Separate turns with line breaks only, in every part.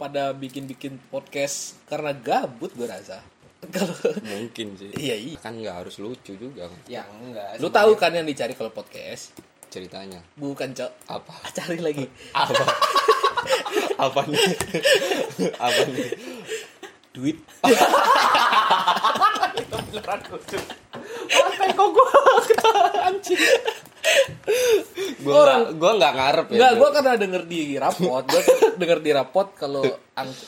pada bikin-bikin podcast karena gabut gue rasa. Kalau
mungkin sih
iya iya.
kan nggak harus lucu juga kan
Ya enggak.
Lu tahu kan yang dicari kalau podcast?
ceritanya
Bukan, Cok. Ah,
apa
Cari lagi.
apa apa nih apa nih
Duit.
gua nggak gua nggak ngarep ya
Enggak,
Bro.
gue karena denger di rapot, gue denger di rapot kalau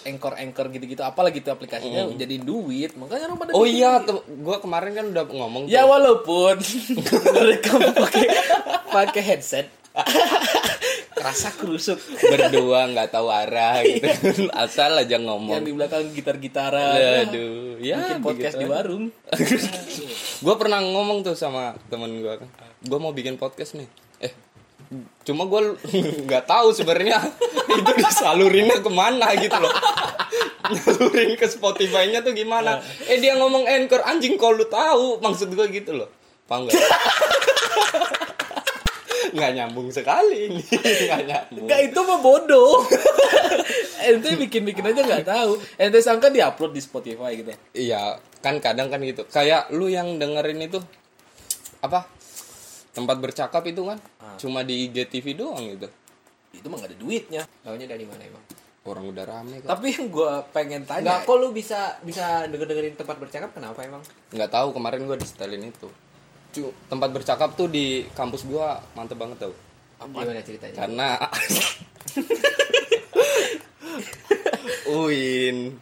engkor engkor gitu-gitu, apalagi itu aplikasinya jadi duit, makanya orang pada
oh
bikin
iya
duit.
tem- gua kemarin kan udah ngomong
ya
tuh.
walaupun rekam pakai pakai headset, kerasa kerusuk
berdua nggak tahu arah gitu asal aja
yang
ngomong
di belakang gitar-gitaran,
aduh ya
bikin podcast di
begitu aja.
warung,
gue pernah ngomong tuh sama temen gue kan gue mau bikin podcast nih eh cuma gue nggak tahu sebenarnya itu disalurinnya kemana gitu loh nyalurin ke Spotify-nya tuh gimana eh dia ngomong anchor anjing kalau lu tahu maksud gue gitu loh paham gak nggak nyambung sekali ini nggak nyambung
Enggak itu mah bodoh. ente bikin-bikin aja nggak tahu. Ente sangka diupload di Spotify gitu.
Iya, kan kadang kan gitu. Kayak lu yang dengerin itu apa? Tempat bercakap itu kan
Ah.
cuma di IGTV doang gitu.
Itu mah gak ada duitnya.
Tahunya dari mana emang?
Orang udah rame kan. kok.
Tapi yang gue pengen
Enggak
tanya,
kok lu bisa bisa denger-dengerin tempat bercakap kenapa emang?
Nggak tahu kemarin gua di setelin itu. Cu- tempat bercakap tuh di kampus gua mantep banget tau.
Gimana ceritanya?
Karena UIN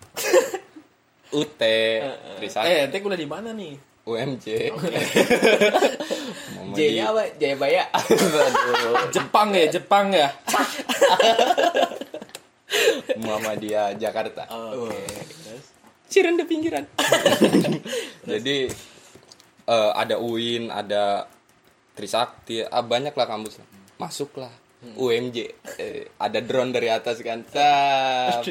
UT Trisakti
eh ente kuliah di mana nih?
UMJ
ya?
J-nya
Muhammadiyah.
apa? Jayabaya.
Aduh,
Jepang ya, Jepang ya.
Muhammadiyah Jakarta
Oke.
Ciren di pinggiran. Jadi eh, ada UIN, ada Trisakti, ah, banyak lah kampus. Masuklah. UMJ Eh, ada drone dari atas kan Tap.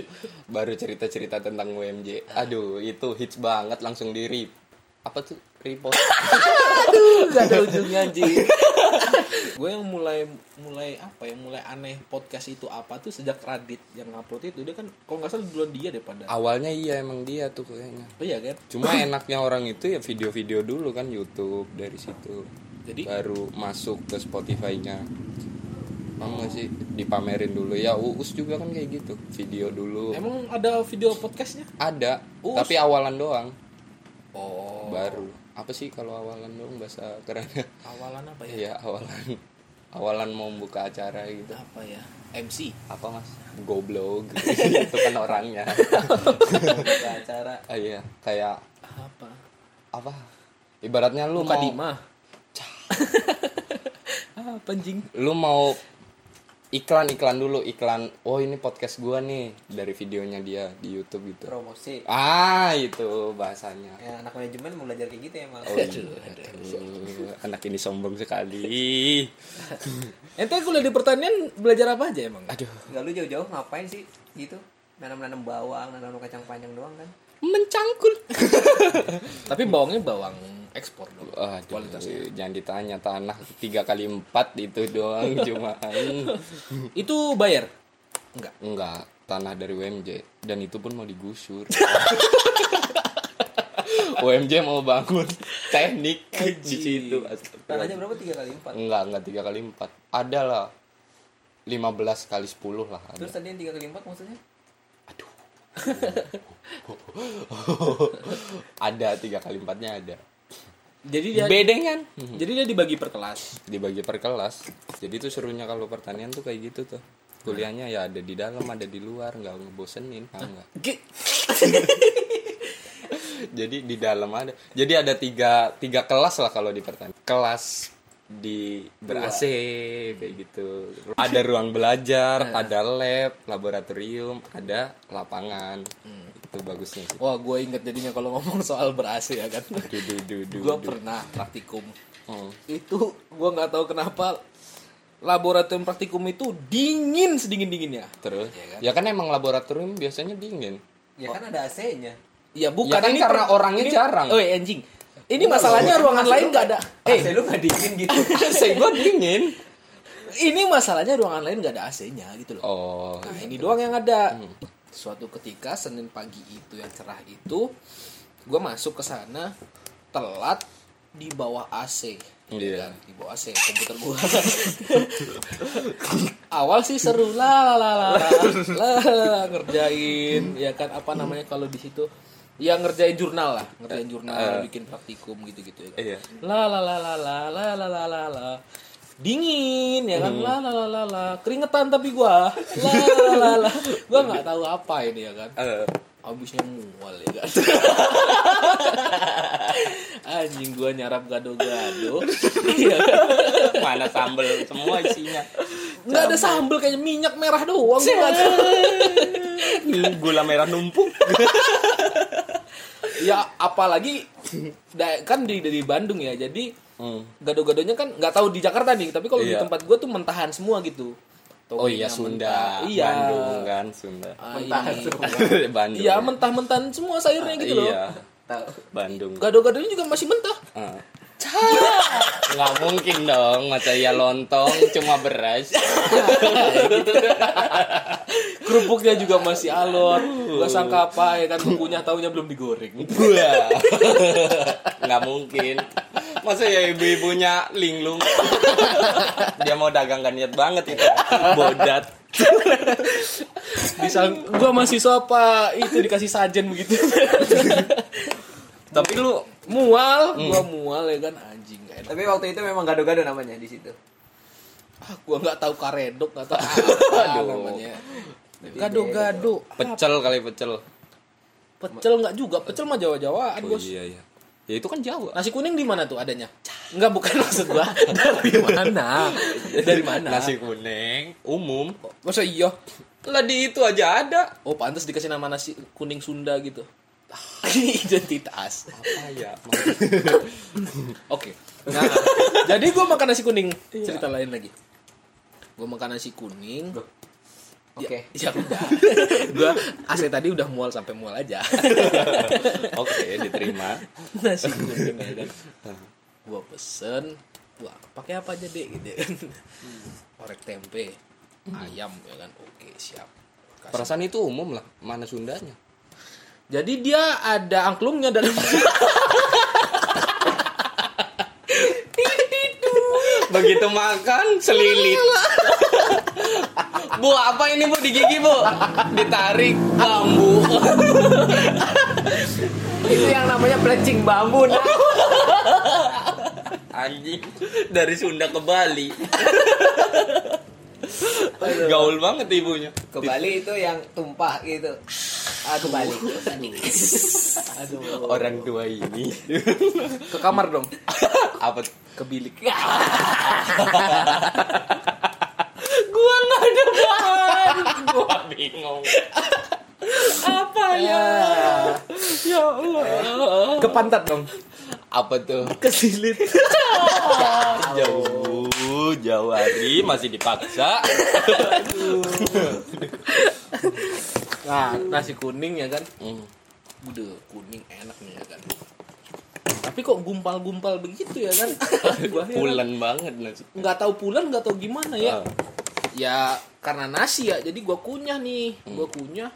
baru cerita cerita tentang UMJ aduh itu hits banget langsung di rip apa tuh repost
Gak ada ujungnya anjing. gue yang mulai mulai apa ya mulai aneh podcast itu apa tuh sejak Radit yang upload itu dia kan kalau nggak salah duluan dia deh pada
awalnya iya emang dia tuh kayaknya
oh iya kan
cuma enaknya orang itu ya video-video dulu kan YouTube dari situ
Jadi?
baru masuk ke Spotify-nya mau nggak sih dipamerin dulu ya Uus juga kan kayak gitu video dulu
emang ada video podcastnya
ada
Uus?
tapi awalan doang
oh
baru apa sih kalau awalan doang bahasa kerennya
awalan apa ya
ya awalan awalan mau buka acara gitu
apa ya MC
apa mas goblog itu kan orangnya
Buka acara.
Ah, iya kayak
apa Oh.
apa ibaratnya lu mau
Mukadimah apa anjing
lu mau iklan iklan dulu iklan oh ini podcast gua nih dari videonya dia di YouTube gitu
Promosi.
ah itu bahasanya
Ya, anak manajemen mau belajar kayak gitu ya, Mang.
oh, iya. Aduh, anak ini sombong sekali
ente kuliah di pertanian belajar apa aja emang
aduh
Enggak lu jauh-jauh ngapain sih gitu? Nanam-nanam bawang, nanam kacang panjang doang kan?
mencangkul
tapi bawangnya bawang ekspor dong
Aduh, jangan ditanya tanah tiga kali empat itu doang cuma
itu bayar enggak
enggak tanah dari UMJ dan itu pun mau digusur UMJ mau bangun teknik di situ Astagfirullah.
Tanahnya Kan berapa? 3 kali 4.
Enggak, enggak tiga kali empat. Ada lah. 15 kali 10 lah ada.
Terus tadi yang 3 kali 4 maksudnya?
ada tiga kali empatnya ada.
jadi dia
Bedengan.
jadi dia dibagi per kelas
Dibagi per kelas. Jadi tuh serunya kalau pertanian tuh kayak gitu tuh. Kuliahnya ya ada di dalam, ada di luar, nggak ngebosenin, paham nggak? Jadi di dalam ada. Jadi ada tiga tiga kelas lah kalau di pertanian. Kelas di ber AC kayak gitu. Ada ruang belajar, ada lab, laboratorium, ada lapangan. Itu bagusnya sih.
wah gue inget jadinya kalau ngomong soal berasi ya kan
Du, du, du, du,
gue
du.
pernah praktikum
Hmm.
itu gue nggak tahu kenapa laboratorium praktikum itu dingin sedingin dinginnya
Terus? Ya kan emang laboratorium biasanya dingin.
Ya kan ada AC-nya.
ya bukan
Ya kan
ini
karena
per-
orangnya
ini-
jarang.
oh anjing ini masalahnya ruangan lain nggak ada eh
AC lu nggak dingin gitu.
AC gua dingin.
ini masalahnya ruangan lain nggak ada AC-nya gitu loh
Oh. Hmm.
Nah, ini doang yang ada. suatu ketika Senin pagi itu yang cerah itu gue masuk ke sana telat di bawah AC kan?
Iya.
di bawah AC komputer gue awal sih seru lah lah lah lah, lah, lah, lah, ngerjain ya kan apa namanya kalau di situ ya ngerjain jurnal lah ngerjain
Eh.
jurnal bikin praktikum gitu gitu ya kan
Iya.
la la la la la la la la la la dingin ya
Hmm.
kan la la la la la keringetan tapi gua la la la la, la. gua nggak tahu apa ini ya kan
Eh,
abisnya mual ya kan anjing gua nyarap gado-gado Iya kan?
mana sambel semua isinya.
nggak ada sambel kayaknya minyak merah doang gua nggak tahu.
Gula merah numpuk.
ya apalagi da- kan di dari Bandung ya jadi
Hmm.
gado-gadonya kan nggak tahu di Jakarta nih tapi kalau di
Iya.
tempat gua tuh mentahan semua gitu
Oh iya
Togenya
Sunda,
mentah. iya
Bandung kan Sunda.
Ah,
Mentah
ini.
semua.
Bandung.
Iya mentah-mentahan semua sayurnya gitu loh.
Iya,
Tahu.
Bandung.
Gado-gadonya juga masih mentah.
Ah. Nggak mungkin dong, masa ya lontong cuma beras.
Kerupuknya juga masih alot. Gua sangka apa ya kan bukunya taunya belum digoreng.
Wah. Nggak mungkin. Masa ya ibu-ibunya linglung. Dia mau dagang gak niat banget itu. Bodat.
Bisa gua mahasiswa apa itu dikasih sajen begitu.
Tapi lu Hmm.
mual, gua mual ya kan anjing gak enak.
Tapi waktu itu memang gado-gado namanya di situ.
Ah, gua nggak tahu karedok nggak tahu apa
Aduh. gitu.
namanya. Gado-gado Ah,
pecel kali pecel.
pecel nggak juga pecel mah jawa-jawaan
Oh
Eh, bos.
iya iya. Ya itu kan Jawa.
Nasi kuning di mana tuh adanya? Enggak bukan maksud gua. Dari mana? Dari mana?
Nasi kuning umum.
Masa iya?
Lah di itu aja ada.
Oh pantas dikasih nama nasi kuning Sunda gitu. Identitas.
Apa ya?
Oke. Nah, jadi gue makan nasi kuning.
Iya.
Cerita lain lagi. Gue makan nasi kuning.
Oke.
Ya, ya udah. gue AC tadi udah mual sampai mual aja.
Oke, diterima.
nasi kuning ya kan. Gue pesen. Wah, pakai apa aja deh gitu. kan.
Hmm.
Orek tempe, ayam ya kan. Oke, siap. Kasih.
Perasaan itu umum lah. Mana Sundanya?
Jadi dia ada angklungnya dalam
Begitu makan selilit. bu, apa ini Bu di gigi, Bu? Ditarik bambu.
Itu yang namanya plecing bambu nah.
Anjing, dari Sunda ke Bali. Gaul banget ibunya.
Ke Bali itu yang tumpah gitu. Ah, ke Bali. Aduh.
Orang tua ini.
ke kamar dong,
apa? tuh?
ke bilik.
Gua nggak ada bahan. Gua bingung.
apa ya ya Allah
Ke pantat dong.
Apa tuh?
kesilit
Jauh, jauh hari masih dipaksa.
nah nasi kuning ya kan
Hmm.
udah kuning enak nih ya kan tapi kok gumpal-gumpal begitu ya kan Gua heran.
Pulen banget nasi.
nggak tahu pulen nggak tahu gimana ya
Ah.
Iya.
ya karena nasi ya jadi gua kunyah nih gua kunyah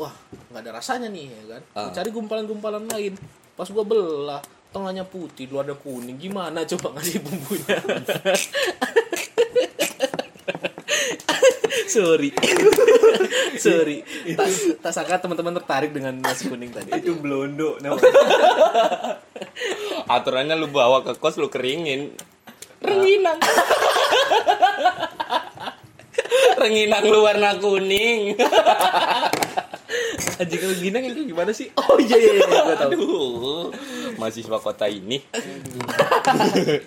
wah nggak ada rasanya nih ya kan Gua
Ah.
cari gumpalan-gumpalan lain pas gua belah tengahnya putih luarnya kuning gimana coba ngasih bumbunya sorry sorry tak, tak sangka teman-teman tertarik dengan nasi kuning tadi
Itu blondo namanya.
Aturannya lu bawa ke kos lu keringin. Renginang. Renginang lu warna kuning.
anjing lu ginang itu gimana sih oh iya iya iya gua tahu
Aduh, mahasiswa kota ini
tapi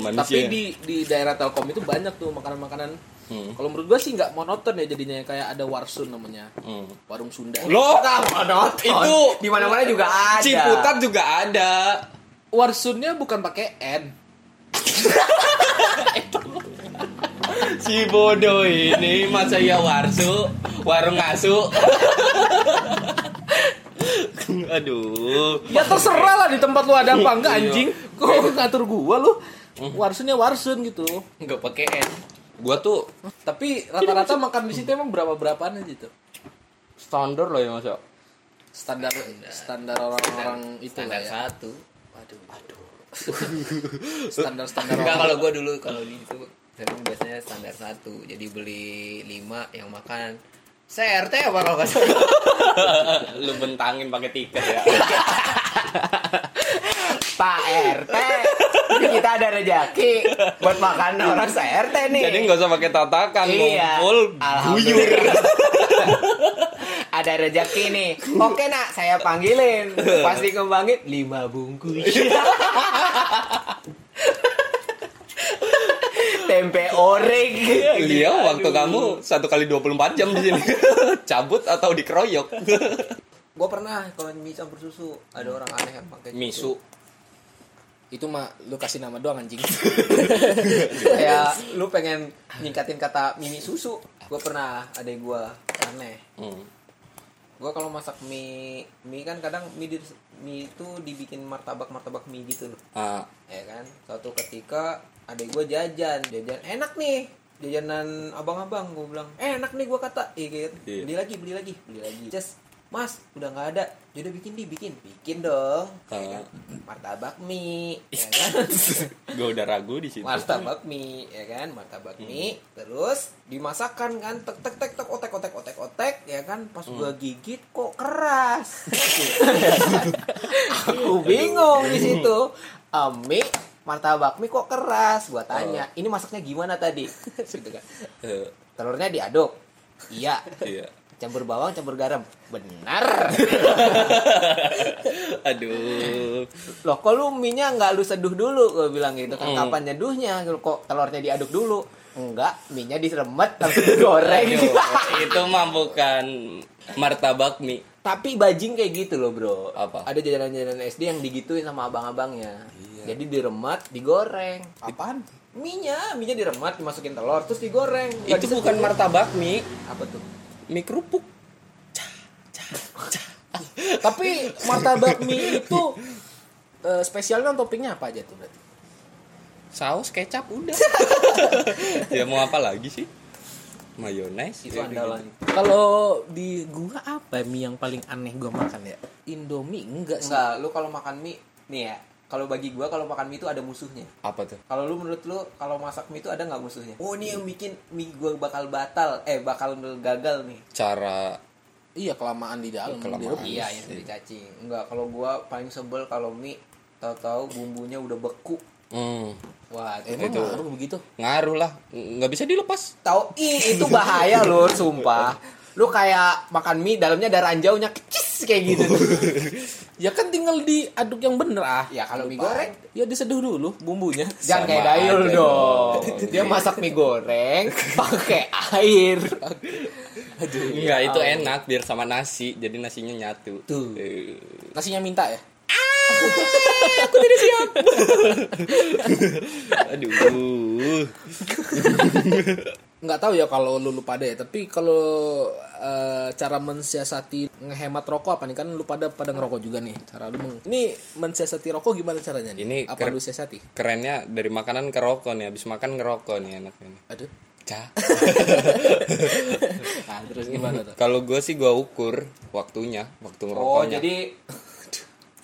manusia.
di di daerah Telkom itu banyak tuh makanan-makanan.
Hmm.
Kalau menurut gua sih nggak monoton ya jadinya kayak ada warsun namanya.
Hmm.
Warung Sunda.
Lo itu
Itu di mana-mana juga ada.
Ciputat juga ada.
Warsunnya bukan pakai N.
Si bodoh ini masa ya warsu, warung asu. Aduh.
Ya terserah lah di tempat lu ada apa enggak
Iya.
anjing. Kok ngatur gua lu? Warsunnya warsun gitu.
Enggak pakai N. Gua tuh
Tapi rata-rata makan di situ emang berapa berapaan aja tuh?
standar loh ya Mas. ya.
Standar standar orang-orang itu lah
standar
ya.
satu waduh waduh
Standar standar
enggak
orang.
kalau gua dulu kalau di itu memang biasanya standar satu jadi beli lima yang makan CRT apa kalau nggak salah
Lu bentangin pakai tiket ya.
Pak RT ini kita ada rejeki buat makan orang CRT nih
Jadi nggak usah pakai tatakan, ngumpul guyur.
ada rejeki nih oke nak saya panggilin pasti kembangin lima bungkus tempe orek
Iya, waktu kamu satu kali 24 jam di sini. Cabut atau dikeroyok.
gue pernah kalau mie campur susu ada orang aneh yang pakai
Misu.
Itu mah lu kasih nama doang anjing.
kayak lu pengen ningkatin kata mimi susu gue pernah ada gue aneh
Hmm.
gue kalau masak mie mie kan kadang mie di- mie itu dibikin martabak martabak mie gitu loh
Ah,
ya kan suatu ketika adek gue jajan jajan enak nih jajanan abang-abang gue bilang eh enak nih gue kata iya kan?
Iya.
beli lagi beli lagi beli lagi just mas udah nggak ada jadi bikin di bikin bikin dong ya kan? martabak mie ya kan
gue udah ragu di situ.
martabak mie ya kan martabak mie terus dimasakkan kan tek tek tek tek otek otek otek otek ya kan pas gua gigit kok keras aku bingung di situ Eh, mie martabak mie kok keras gua tanya ini masaknya gimana tadi Gitu kan.
Eh,
telurnya diaduk iya
iya.
campur bawang campur garam benar
Aduh.
loh kok lu mie-nya nggak lu seduh dulu gue bilang gitu kan
Hmm.
kapan nyeduhnya kok telurnya diaduk dulu enggak mie-nya diremet langsung digoreng
Aduh, itu mah bukan martabak mie.
tapi bajing kayak gitu loh bro
Apa?
ada jajanan-jajanan SD yang digituin sama abang-abangnya jadi diremet digoreng
Apaan?
mie-nya mie-nya diremet dimasukin telur terus digoreng Nggak
itu
bisa
bukan
digoreng.
martabak mie,
apa tuh
mie kerupuk.
Tapi martabak mie itu eh, spesialnya toppingnya apa aja tuh berarti?
Saus kecap udah. ya mau apa lagi sih? Mayones
itu
ya,
andalan
Kalau di gua apa ya, mie yang paling aneh gua makan ya? Indomie enggak sih.
enggak lu kalau makan mie nih ya kalau bagi gua kalau makan mie itu ada musuhnya
gitu. Apa tuh?
Kalau lu menurut lu kalau masak mie itu ada nggak musuhnya? Oh ini yang bikin mie gua bakal batal, eh bakal gagal nih.
Cara
Iya kelamaan di dalam.
Kelamaan.
Di-
Iya yang dari cacing. Enggak, kalau gua paling sebel kalau mie tahu-tahu bumbunya udah beku.
hmm,
Wah, itu
Emang ngaruh begitu?
ngaruh lah, nggak bisa dilepas.
tahu ih itu bahaya lur, sumpah. Lu kayak makan mie dalamnya ada ranjaunya kecis kayak gitu.
Oh, Ya kan tinggal diaduk yang bener ah.
ya
Iya,
kalau mie goreng
Ya diseduh dulu bumbunya.
Sama
jangan kayak dayul
aja
dong.
dong.
Dia masak mie goreng pakai air.
Enggak, itu enak biar sama nasi, jadi nasinya nyatu.
Tuh.
Eh,
Nasinya minta ya.
Aduh.
Nggak tahu ya kalau lu, lu pada ya, tapi kalau eh, cara mensiasati ngehemat rokok apa nih? Kan lu pada pada ngerokok juga nih. Cara lu meng- Ini mensiasati rokok gimana caranya nih?
Ini
apa
ker-
lu siasati?
Kerennya dari makanan ke rokok nih, habis makan ngerokok nih enaknya. nih.
Aduh.
Cah.
Nah, terus gimana tuh?
Kalau gue sih gue ukur waktunya, waktu ngerokoknya.
Oh, jadi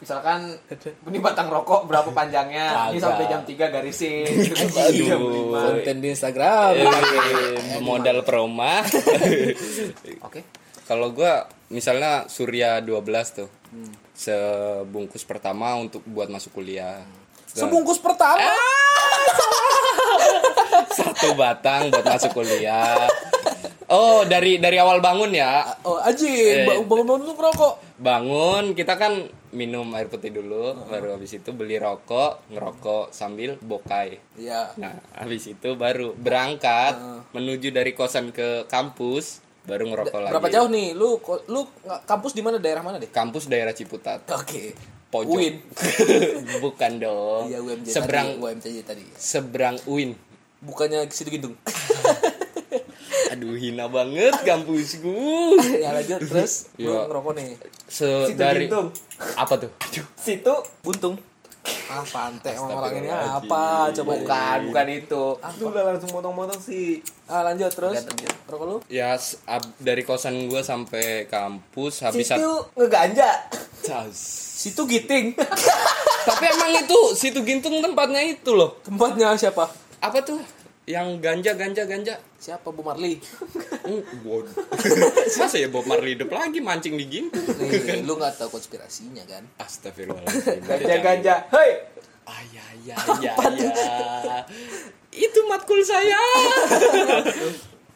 misalkan ini batang rokok berapa panjangnya? Ini
Kagak.
sampai jam 3 garisin.
Aduh.
Jam lima.
Konten di Instagram.
Eh, modal promo.
Oke.
Kalau gue misalnya Surya 12 tuh.
Hmm.
Sebungkus pertama untuk buat masuk kuliah.
Sebungkus pertama.
Eh. Satu batang buat masuk kuliah. Oh, dari dari awal bangun ya.
Oh, anjing,
Eh.
ba- bangun-bangun lu ngerokok.
bangun kita kan minum air putih dulu baru habis itu beli rokok ngerokok sambil bokai
Iya.
nah habis itu baru berangkat
Ah.
menuju dari kosan ke kampus baru ngerokok lagi
Berapa jauh nih? Lu ko- lu nga- kampus di mana daerah mana deh?
kampus daerah Ciputat
Oke.
pojok
Uin.
bukan dong
Iya UMJ
seberang
tadi, UMJ tadi.
seberang Uin
Bukannya situ gedung.
aduh hina banget kampusku
ya lanjut terus lu
Iya.
ngerokok nih.
Se-
Situ
dari
Gintung.
apa tuh
Situ
Buntung. ah pantai emang orang ini
Astagfirullahaladzim.
apa coba
Bukan, bukan itu.
lu udah langsung motong-motong sih ah lanjut terus
Lanjut, lanjut.
rokok lu
Ya s- ab- dari kosan gue sampai kampus habis
Situ
sat-
ngeganja.
Cas.
situ giting
Tapi emang itu situ gintung tempatnya itu loh.
tempatnya siapa
Apa tuh? Yang ganja ganja ganja.
siapa Bu Marli
Mm, bod. Masa ya Bob Marley hidup lagi mancing di gintung.
nih lu nggak tahu konspirasinya kan
Astagfirullahaladzim.
Ganja ganja. Hei.
Ayah, ayah, ayah, Itu matkul saya.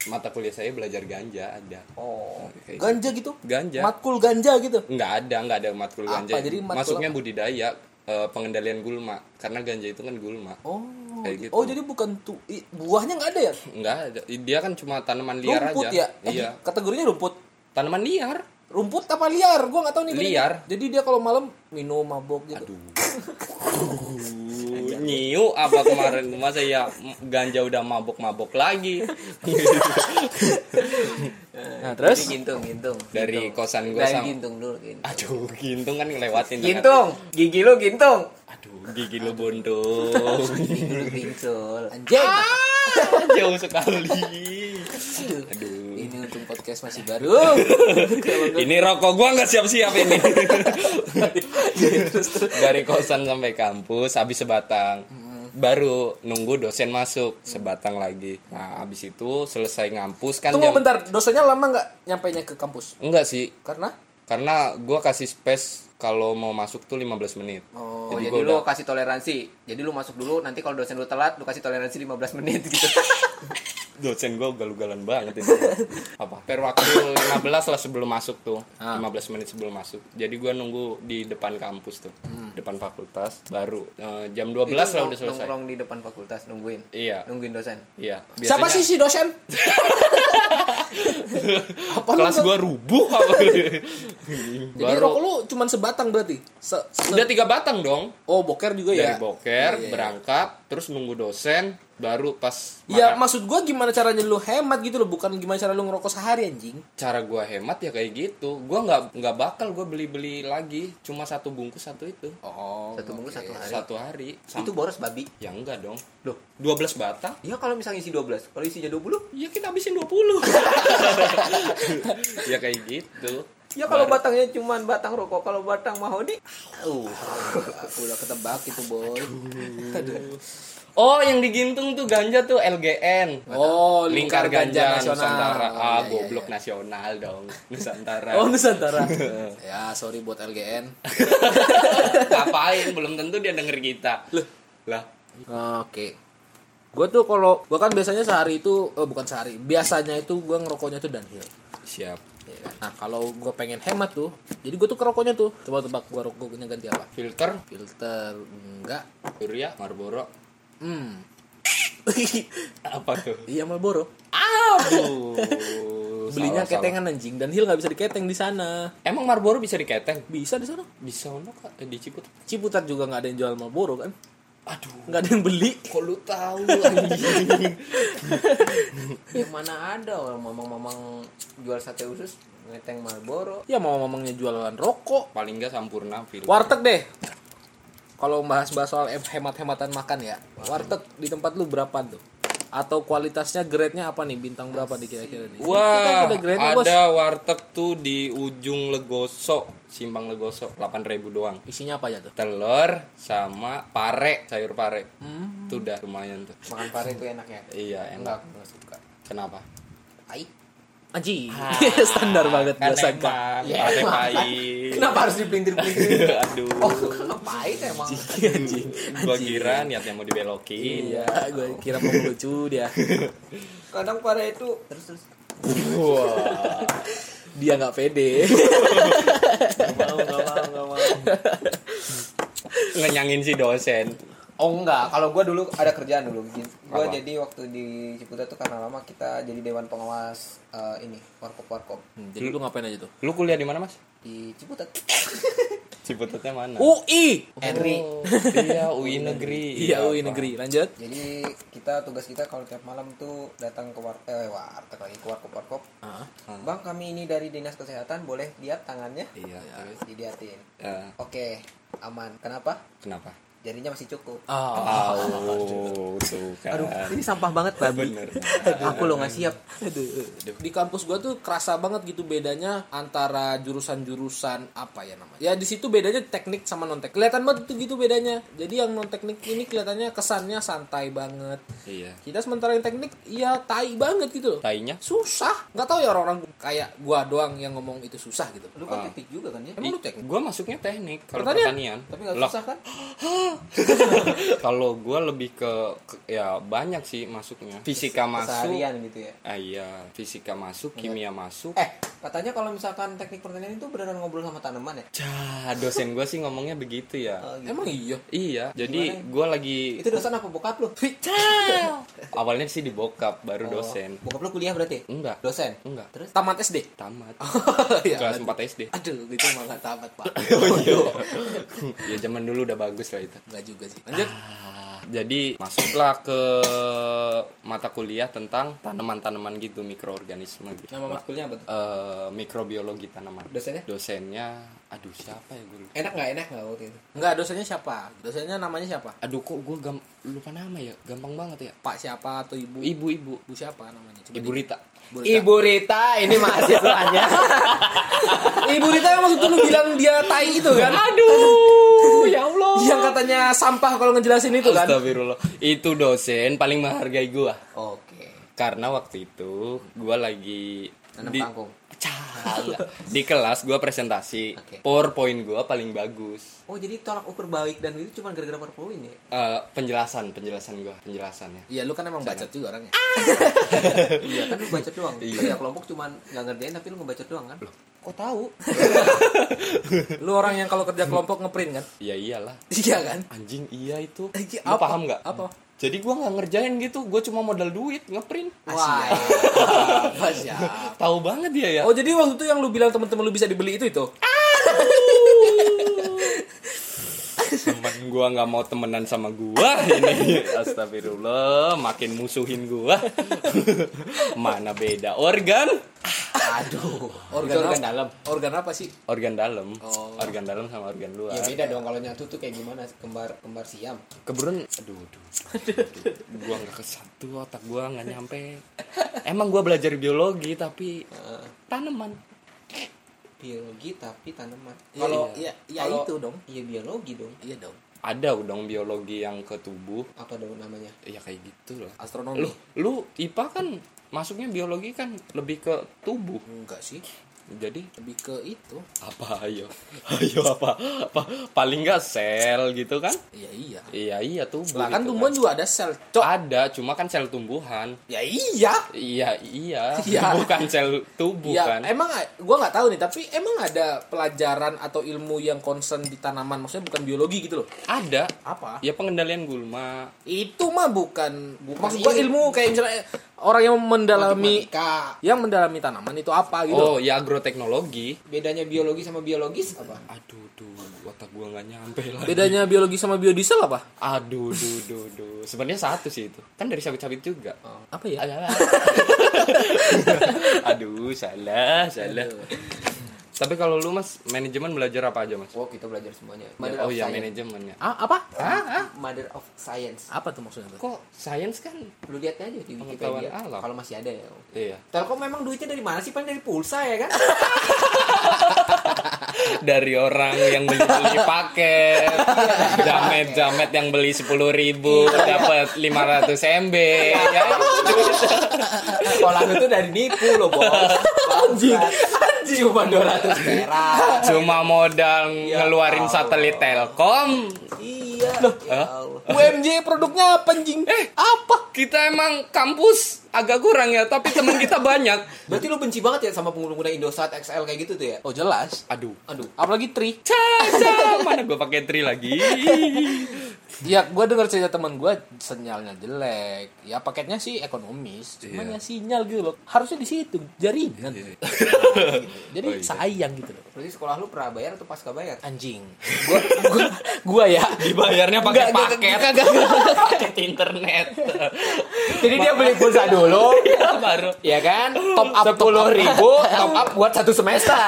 Mata kuliah saya belajar ganja ada.
Oh.
Kayak-
ganja gitu
Ganja.
matkul ganja gitu
Nggak ada, nggak ada matkul
Apa?
ganja.
Jadi matkul
Masuknya budidaya eh, pengendalian gulma karena ganja itu kan gulma.
oh
Kayak gitu.
oh jadi bukan tuh i- buahnya nggak ada ya
Nggak ada. Dia kan cuma tanaman liar
rumput
aja.
ya Eh,
Iya.
kategorinya rumput
Tanaman liar.
rumput apa liar gua nggak tahu nih bedanya.
Liar.
jadi dia kalau malam minum mabok gitu
Aduh. Nyiu apa kemarin masa ya ganja udah mabok-mabok lagi
nah terus
Jadi gintung gintung.
dari
Gintung.
kosan gue
Gitu. Dari Gitu.
sama
gintung dulu gintung.
Aduh, gintung kan ngelewatin dengan-
Gintung, gigi lu gintung.
Aduh, gigi lo bontong.
Gigi lu gintul. Anjing.
Ah, Jauh sekali. Aduh.
ini untung podcast masih baru
Ini rokok gua nggak siap-siap ini. Dari kosan sampai kampus habis sebatang.
Hmm.
Baru nunggu dosen masuk sebatang lagi. Nah, habis itu selesai ngampus kan
tunggu
jam
bentar dosanya lama nggak nyampainya ke kampus
Enggak sih,
karena
karena gua kasih space kalau mau masuk tuh 15 menit.
Oh, jadi,
gua
lu
udah-
kasih toleransi. Jadi lu masuk dulu, nanti kalau dosen lu telat, lu kasih toleransi 15 menit gitu.
dosen gue galugalan banget ini. apa per waktu 15 lah sebelum masuk tuh
Ah.
15 menit sebelum masuk jadi gue nunggu di depan kampus tuh
Hmm.
depan fakultas baru Eh, jam 12 lah
Itu nong-
udah selesai
Nongkrong di depan fakultas nungguin.
iya
Nungguin dosen.
iya
siapa sih si dosen apa lu
kelas
nggak-
gue rubuh apa
jadi rokok
baru
lu cuman sebatang berarti Se- se-
udah tiga batang dong
oh boker juga
dari
ya
boker
Iya, iya.
berangkat terus nunggu dosen baru pas
Ya
makan.
maksud gua gimana caranya lu hemat gitu loh Bukan gimana cara lu ngerokok sehari anjing
cara gue hemat ya kayak gitu gue nggak nggak bakal gue beli beli lagi cuma satu bungkus satu itu
Oh
Satu minggu satu hari.
satu hari
Itu boros babi.
Ya enggak dong.
Loh,
12 batang?
iya kalau misalnya isi 12, kalau isinya 20,
Ya kita habisin 20. ya kayak gitu.
ya kalau
Baru-
batangnya cuman batang rokok, kalau batang mahoni,
uh, Aku udah ketebak itu boy
Oh, yang digintung tuh ganja tuh LGN.
Oh
Lingkar Ganja, Nusantara.
Oh, iya, iya,
ah, goblok
iya.
nasional dong. Nusantara.
Oh Nusantara Ya sorry buat LGN
Ngapain? Belum tentu dia denger kita. Lah,
Oke Gue tuh kalau Gue kan biasanya sehari itu eh, Bukan sehari Biasanya itu gua ngerokoknya tuh downhill
siap.
Ya kan? Nah kalau gue pengen hemat tuh Jadi gue tuh kerokoknya tuh Coba tebak gue rokoknya ganti apa
Filter,
Filter Enggak
Surya, Marlboro.
Hmm
Apa tuh?
Iya Marlboro
Aduh.
Belinya
Salah, salah.
ketengan anjing Dan Hill nggak bisa diketeng di sana
Emang Marlboro bisa diketeng?
Bisa di sana
Bisa ono kak Eh, di Ciputat.
Ciputat juga nggak ada yang jual Marlboro kan
Aduh.
Nggak ada yang beli
Kok lu tahu anjing?
yang mana ada orang mamang-mamang jual sate usus, ngeteng Marlboro.
Ya mau mamangnya jualan rokok
Paling enggak sampurna Phil.
Warteg deh Kalau bahas-bahas soal em- hemat-hematan makan ya Warteg di tempat lu berapa tuh? Atau kualitasnya grade-nya apa nih? Bintang berapa nih kira-kira nih? Kita
Wah,
ada grade-nya, bos.
ada warteg tuh di ujung Legoso, Simpang Legoso, 8.000 doang.
Isinya apa aja tuh?
Telur sama pare, sayur pare.
Hmm.
Tuh udah lumayan tuh.
Makan pare itu enak ya.
Iya, enak.
Enggak, aku enggak suka.
Kenapa?
Ai,
Anjing. Standar banget
kan
biasa Iya.
emang pare pahit.
kenapa harus dipelintir-pelintir?
Aduh.
Oh, ngapain emang?
Anjing.
Gua kira niatnya mau dibelokin.
Iya, gue kira mau lucu dia.
Kadang pare itu terus terus
Wah.
Dia nggak pede.
Enggak mau, enggak mau, enggak mau.
Hmm.
Ngenyangin si dosen.
Oh enggak, kalau gua dulu ada kerjaan dulu. Gua
Apa?
jadi waktu di Ciputat tuh karena lama kita jadi dewan pengawas eh, ini, warkop-warkop
Hmm, Jadi lu ngapain aja tuh?
Lu kuliah di mana, Mas?
di Ciputat.
Ciputatnya mana?
Uh. UI.
Henry.
Oh, iya, UI negeri.
Iya, UI
Pak.
negeri. Lanjut.
Jadi kita tugas kita kalau tiap malam tuh datang ke war eh warteg lagi ke warkop warkop. Bang kami ini dari dinas kesehatan boleh lihat tangannya?
Iya.
Diliatin.
Eh,
Oke aman. Kenapa?
kenapa?
jarinya masih cukup
Oh, tuh kan.
aduh ini sampah banget babi
Bener.
aku lo nggak siap
di kampus gua tuh kerasa banget gitu bedanya antara jurusan-jurusan apa ya namanya ya di situ bedanya teknik sama non teknik kelihatan banget tuh gitu bedanya jadi yang non teknik ini kelihatannya kesannya santai banget
Iya.
kita sementara yang teknik ya tai banget gitu loh
Tainya
susah nggak tahu ya orang-orang kayak gua doang yang ngomong itu susah gitu
lu kan titik juga kan ya
emang lu teknik
Gue masuknya teknik kalau
Pertanian?
pertanian.
tapi nggak
Lah,
susah kan
Kalau gue lebih ke, ke- ya banyak sih masuknya. Fisika masuk.
seharian gitu ya
Ah, iya, fisika masuk, kimia masuk.
eh katanya kalau misalkan teknik pertanian itu beneran ngobrol sama tanaman ya
Cah, dosen gue sih ngomongnya begitu ya.
Oh, gitu.
emang iya
Iya, jadi gue lagi
itu dosen apa bokap lu
awalnya sih di bokap,
Oh.
baru dosen.
bokap lu kuliah berarti
Enggak,
dosen
enggak.
terus
tamat SD
Tamat.
Oh, iya,
ya,
Kelas
aduh.
4 SD.
aduh itu mah nggak tamat pak
Ya zaman dulu udah bagus lah itu.
nggak juga sih lanjut
Jadi masuklah ke mata kuliah tentang tanaman-tanaman gitu, mikroorganisme gitu.
nama matkulnya apa tuh
Eh, mikrobiologi tanaman.
Dosennya?
Dosennya, aduh siapa ya gue? lupa.
enak nggak enak nggak waktu itu
nggak dosennya siapa dosennya namanya siapa
Aduh kok gue gam lupa nama ya, gampang banget ya.
pak siapa atau ibu
Ibu-ibu,
ibu siapa namanya Coba
Ibu Rita.
Ibu Rita.
Ibu Rita, ini mahasiswanya.
di- ibu Rita yang waktu itu lu bilang dia tai itu kan
aduh, ya Allah.
yang katanya sampah kalau ngejelasin itu kan
Astagfirullah. Itu dosen paling menghargai gua
oke
karena waktu itu gua lagi
tanam
di
kangkung
Cah, di kelas gua presentasi.
Oke.
PowerPoint gua paling bagus.
oh jadi tolak ukur baik dan itu cuma gara-gara perpuin ya
Eh, penjelasan, penjelasan ya. gua, penjelasannya.
Iya lu kan emang bacot juga orangnya
iya kan lu bacot doang
Iya.
iya kelompok cuman nggak ngerjain tapi lu ngebacot doang kan
Kok tahu? lu orang yang kalau kerja kelompok ngeprint kan?
Ya iyalah.
Iya kan?
Anjing iya itu.
Anjing, Eh,
Lu
apa?
paham nggak?
Apa?
Jadi gua nggak ngerjain gitu, gua cuma modal duit ngeprint.
Wah, apa siap.
Tahu banget dia ya.
Ah, Oh jadi waktu itu yang lu bilang teman-teman lu bisa dibeli itu itu?
Temen gua nggak mau temenan sama gua ini. Astagfirullah, makin musuhin gua. Mana beda organ?
aduh
Organ,
Itu organ
apa?
dalam
Organ apa sih?
Organ dalam.
Oh. Iya.
Organ dalam sama organ luar.
ya beda dong kalau nyatu tuh kayak gimana kembar kembar siam
Kebetulan aduh, aduh. aduh. Gua nggak ke satu, otak gua nggak nyampe. Emang gua belajar biologi tapi
Eh.
tanaman.
biologi tapi tanaman
Iya,
kalau
iya. Iya,
kalau-
itu dong.
iya biologi dong
Iya dong.
Ada dong biologi yang ke tubuh.
apa dong namanya
Ya kayak gitu lah.
Astronomi.
Lu lu IPA kan masuknya biologi kan lebih ke tubuh.
Enggak sih.
Jadi
Lebih ke itu.
apa ayo ayo apa apa paling nggak sel gitu kan
Iya iya.
iya iya tubuh
Lah kan
gitu
tumbuhan juga ada sel.
kan.
Cok.
ada cuma kan sel tumbuhan
Ya iya.
iya iya
Iya.
bukan sel tubuh
ya,
kan
emang gua nggak tahu nih, tapi emang ada pelajaran atau ilmu yang concern di tanaman, maksudnya bukan biologi gitu loh.
ada
Apa?
ya pengendalian gulma
Itu mah bukan,
Bukan
maksud gua ilmu kayak misalnya orang yang mendalami
Matematika.
yang mendalami tanaman itu apa gitu.
oh ya agroteknologi
bedanya biologi sama biologis apa
aduh duh otak gua nggak nyampe lah
Bedanya biologi sama biodiesel apa?
aduh duh duh duh sebenarnya satu sih itu kan dari sabit-sabit juga
Oh.
Apa ya?
aduh salah salah tapi kalau lu mas manajemen belajar apa aja mas
oh kita belajar semuanya
Ya, oh ya
science.
manajemen ya.
Ah, apa?
mother of science
Apa tuh maksudnya? tuh?
Kok sains kan?
lu lihat aja di
Pengetahuan
Wikipedia
alam.
kalau masih ada ya
Iya.
Telkom memang duitnya dari mana sih? Paling dari pulsa ya kan?
Dari orang yang beli beli paket, jamet jamet yang beli sepuluh ribu dapat 500 mb. ya.
Sekolah itu dari nipu loh bos. Anjing, anjing cuma 200 perak.
Cuma modal ngeluarin satelit Telkom.
Iya. Ya Allah.
UMJ produknya apa anjing?
Eh apa? Kita emang kampus agak kurang ya, tapi teman kita banyak.
Berarti lu benci banget ya sama pengguna Indosat XL kayak gitu tuh ya?
Oh jelas.
Aduh.
Aduh.
Apalagi tri.
Caca, mana gue pakai tri lagi?
Ya, gue denger cerita teman gue sinyalnya jelek. Ya paketnya sih ekonomis, cuman ya sinyal gitu loh. Harusnya di situ jaringan. Jadi sayang gitu loh.
Berarti sekolah lu pernah bayar atau pasca bayar?
Anjing. Gua gua, gua ya.
Dibayarnya pakai
Nggak, nggak,
paket,
nggak, nggak, nggak.
paket internet.
Jadi dia beli pulsa dulu,
Iya baru.
ya kan? Top up sepuluh ribu, top up buat satu semester.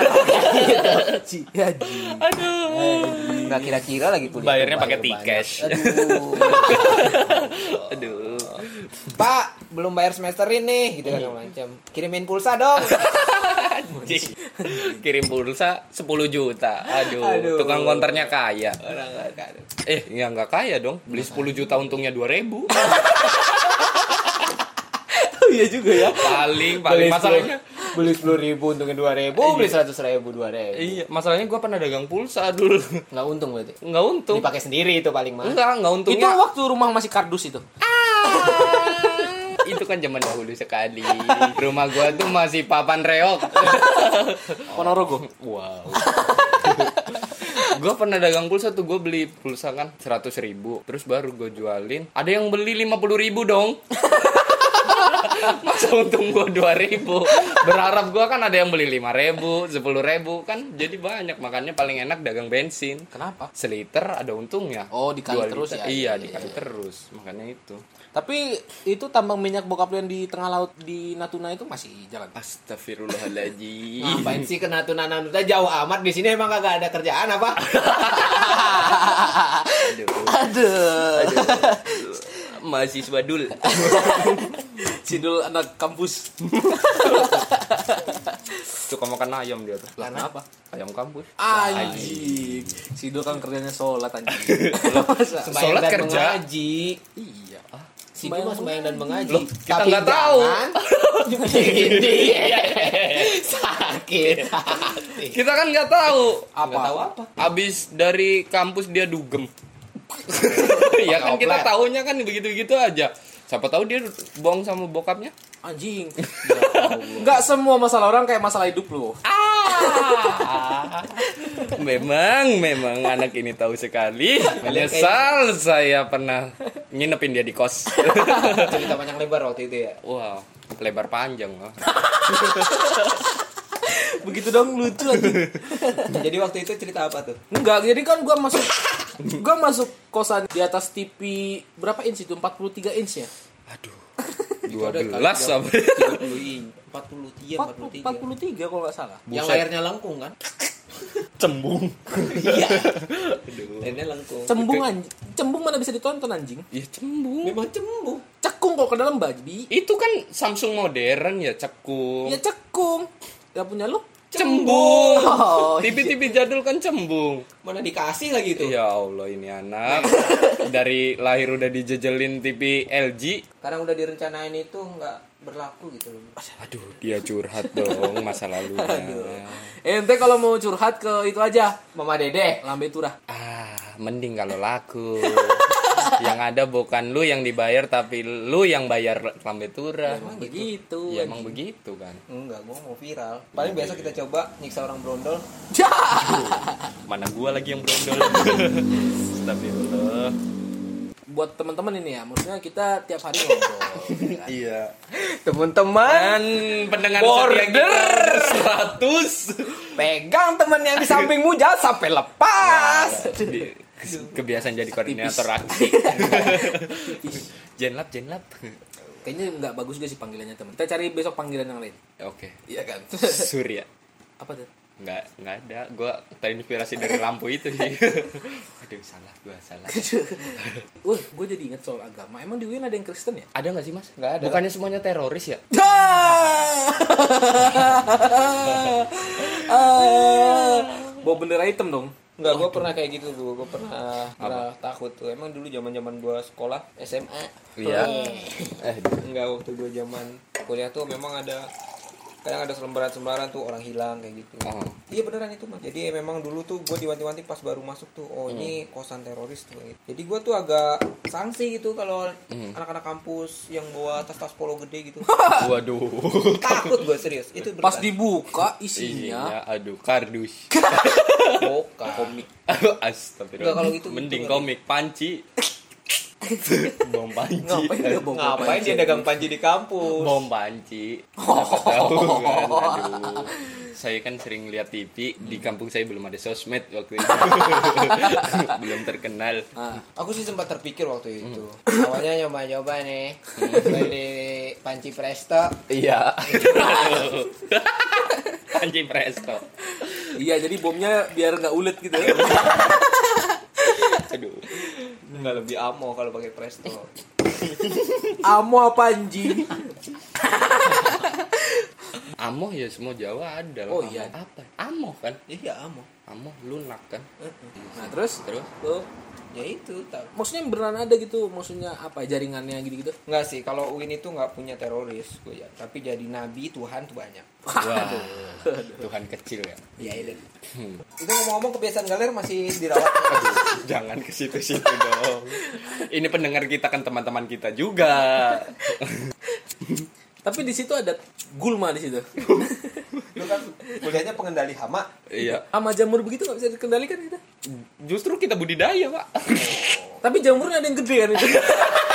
Gitu. Ci- Ya, ji.
Aduh.
nggak kira-kira lagi kuliah
Bayarnya
tuh,
pakai
bayar banyak.
tiket.
Aduh.
Aduh.
Pak belum bayar semester ini gitu kan macam kirimin pulsa dong
Anjing. Kirim pulsa 10 juta. Aduh,
Aduh.
tukang konternya kaya.
orang nggak ada
Eh, ya nggak kaya dong. Beli 10 juta untungnya 2000. Oh,
iya juga ya
Paling paling masalahnya
beli sepuluh ribu untungnya dua ribu beli seratus ribu dua ribu
Iya, masalahnya gua pernah dagang pulsa dulu.
nggak untung berarti
Nggak untung.
dipakai sendiri itu paling mahal
Enggak, nggak
Itu
untungnya.
waktu rumah masih kardus itu.
Itu, kan zaman dahulu sekali. Rumah gua tuh masih papan reok.
Ponorogo.
Wow. gue pernah dagang pulsa tuh gue beli pulsa kan 100 ribu terus baru gue jualin ada yang beli 50 ribu dong masa untung gue 2 ribu berharap gue kan ada yang beli 5 ribu 10 ribu kan jadi banyak makanya paling enak dagang bensin
Kenapa?
seliter ada untungnya
Oh, dikali
Dua
terus ya?
liter. iya
Iya,
dikali terus makanya itu
Tapi itu tambang minyak bokap lu yang di tengah laut di Natuna itu masih jalan.
Astagfirullahaladzim
ngapain sih kena tunanan kita jauh amat di sini emang kagak ada kerjaan apa
Aduh.
mahasiswa dul
Sidul anak kampus.
suka makan ayam dia tuh
Lah kenapa?
ayam kampus
Anjing. Sidul kan kerjanya sholat anjing. Masa?
Sembahyang
Sholat
dan
kerja.
mengaji
Iya. Ah,
Sini mah sembahyang dan mengaji
Loh, kita nggak tahu. Iya.
sakit hati
kita kan nggak tahu
apa tahu apa
Abis dari kampus dia dugem. ya kan kita
Oplet.
taunya kan begitu-begitu aja. Siapa tahu dia bohong sama bokapnya.
Anjing. Enggak semua masalah orang kayak masalah hidup lu.
Ah.
Memang, memang anak ini tahu sekali. Menyesal saya pernah nginepin dia di kos.
cerita panjang lebar waktu itu ya
Wow, lebar panjang. ah. loh.
Begitu dong lucu anjing.
jadi waktu itu cerita apa tuh
Enggak, jadi kan gua masuk gua masuk kosan di atas TV berapa inch itu? 43 inch ya?
12 apa?
30 43
43,
43
kalau nggak salah.
yang
Buset.
layarnya lengkung kan
Cembung.
iya layarnya lengkung
Cembung anjing. Cembung mana bisa ditonton anjing?
Ya cembung.
memang cembu
Cekung kok ke dalam babi.
Itu kan Samsung modern ya cekung.
Ya cekung. Ya punya lu.
Cembung.
Oh,
TV-TV jadul kan cembung.
mana dikasih lagi
Iya.
itu
Ya Allah ini anak dari lahir udah dijejelin TV LG.
karena udah direncanain itu nggak berlaku gitu loh
Aduh, dia curhat dong masa lalunya.
Eh, Ente kalau mau curhat ke itu aja.
mama dede
Lambe turah.
Ah, mending kalau laku. yang ada bukan lu yang dibayar tapi lu yang bayar lambe turah.
Begitu.
Ya emang begitu kan.
enggak gua mau viral paling
Iya.
biasa kita coba nyiksa orang brondol
Ya.
Mana gua lagi yang brondol. Astagfirullah.
Buat teman-teman ini ya, maksudnya kita tiap hari ngobrol. ya kan?
Iya.
teman-teman
Dan pendengar setia kita 100
pegang teman yang di sampingmu jangan sampai lepas
Nah, iya.
Di- kebiasaan jadi koordinator aktif jenlap jenlap
Kayaknya nggak bagus gak sih panggilannya teman. Kita cari besok panggilan yang lain.
oke
Iya kan?
surya
Apa tuh?
nggak nggak ada gue terinspirasi dari lampu itu sih aduh salah gue salah
Wah, gue jadi inget soal agama. Emang di UIN ada yang Kristen ya?
ada nggak sih mas nggak ada bukannya semuanya teroris ya
Ah. Bawa bendera hitam dong.
Enggak, gue pernah kayak gitu tuh. Gue pernah, pernah takut tuh. Emang dulu zaman zaman gue sekolah SMA.
iya eh
Enggak waktu gue zaman kuliah tuh memang ada kadang ada selembaran-selembaran tuh orang hilang kayak gitu.
oh.
Iya beneran itu mas. Jadi memang dulu tuh gue diwanti-wanti pas baru masuk tuh. Oh ini
Hmm.
kosan teroris tuh. gitu. Jadi gue tuh agak sanksi gitu kalau
Hmm.
anak-anak kampus yang bawa tas-tas polo gede gitu.
waduh
takut gue serius. Itu
Pas
beneran.
dibuka isinya
isinya Iya, aduh kardus
Bukan. komik.
Astagfirullah.
Nggak, kalau gitu-
Mending
gitu.
komik panci. bom panci.
ngapain dia bawa
Eh, Ngapain dia dagang panji di kampus?
bom panci Siapa tahu kan? Aduh. saya kan sering lihat TV di kampung saya belum ada sosmed waktu itu belum terkenal
Nah, Aku sih sempat terpikir waktu itu. Awalnya nyoba-nyoba nih Hmm. beli panci Presto.
iya panci presto
Iya, jadi bomnya biar nggak ulet gitu. ya.
Aduh.
nggak lebih amo kalau pakai presto
Amo apa anjing?
Amoh ya semua Jawa ada lah.
Oh,
Amoh
iya.
Apa? Amoh kan?
iya amo
Amoh lunak kan?
Nah terus,
Terus?
lo
ya itu tak
maksudnya beneran ada gitu, maksudnya apa jaringannya gitu-gitu?
Enggak sih, kalau Uin itu nggak punya teroris, gue ya. Tapi jadi nabi Tuhan tuh banyak.
Wah. Tuhan kecil ya.
Iya, Ilin. Itu ngomong-ngomong kebiasaan galer masih dirawat.
Aduh, jangan ke situ-situ dong. Ini pendengar kita kan teman-teman kita juga.
Tapi di situ ada gulma di situ.
Lu kan kuliahnya pengendali hama.
Iya.
Sama jamur begitu nggak bisa dikendalikan gitu. kita.
Justru kita budidaya, Pak.
Tapi jamurnya ada yang gede kan itu.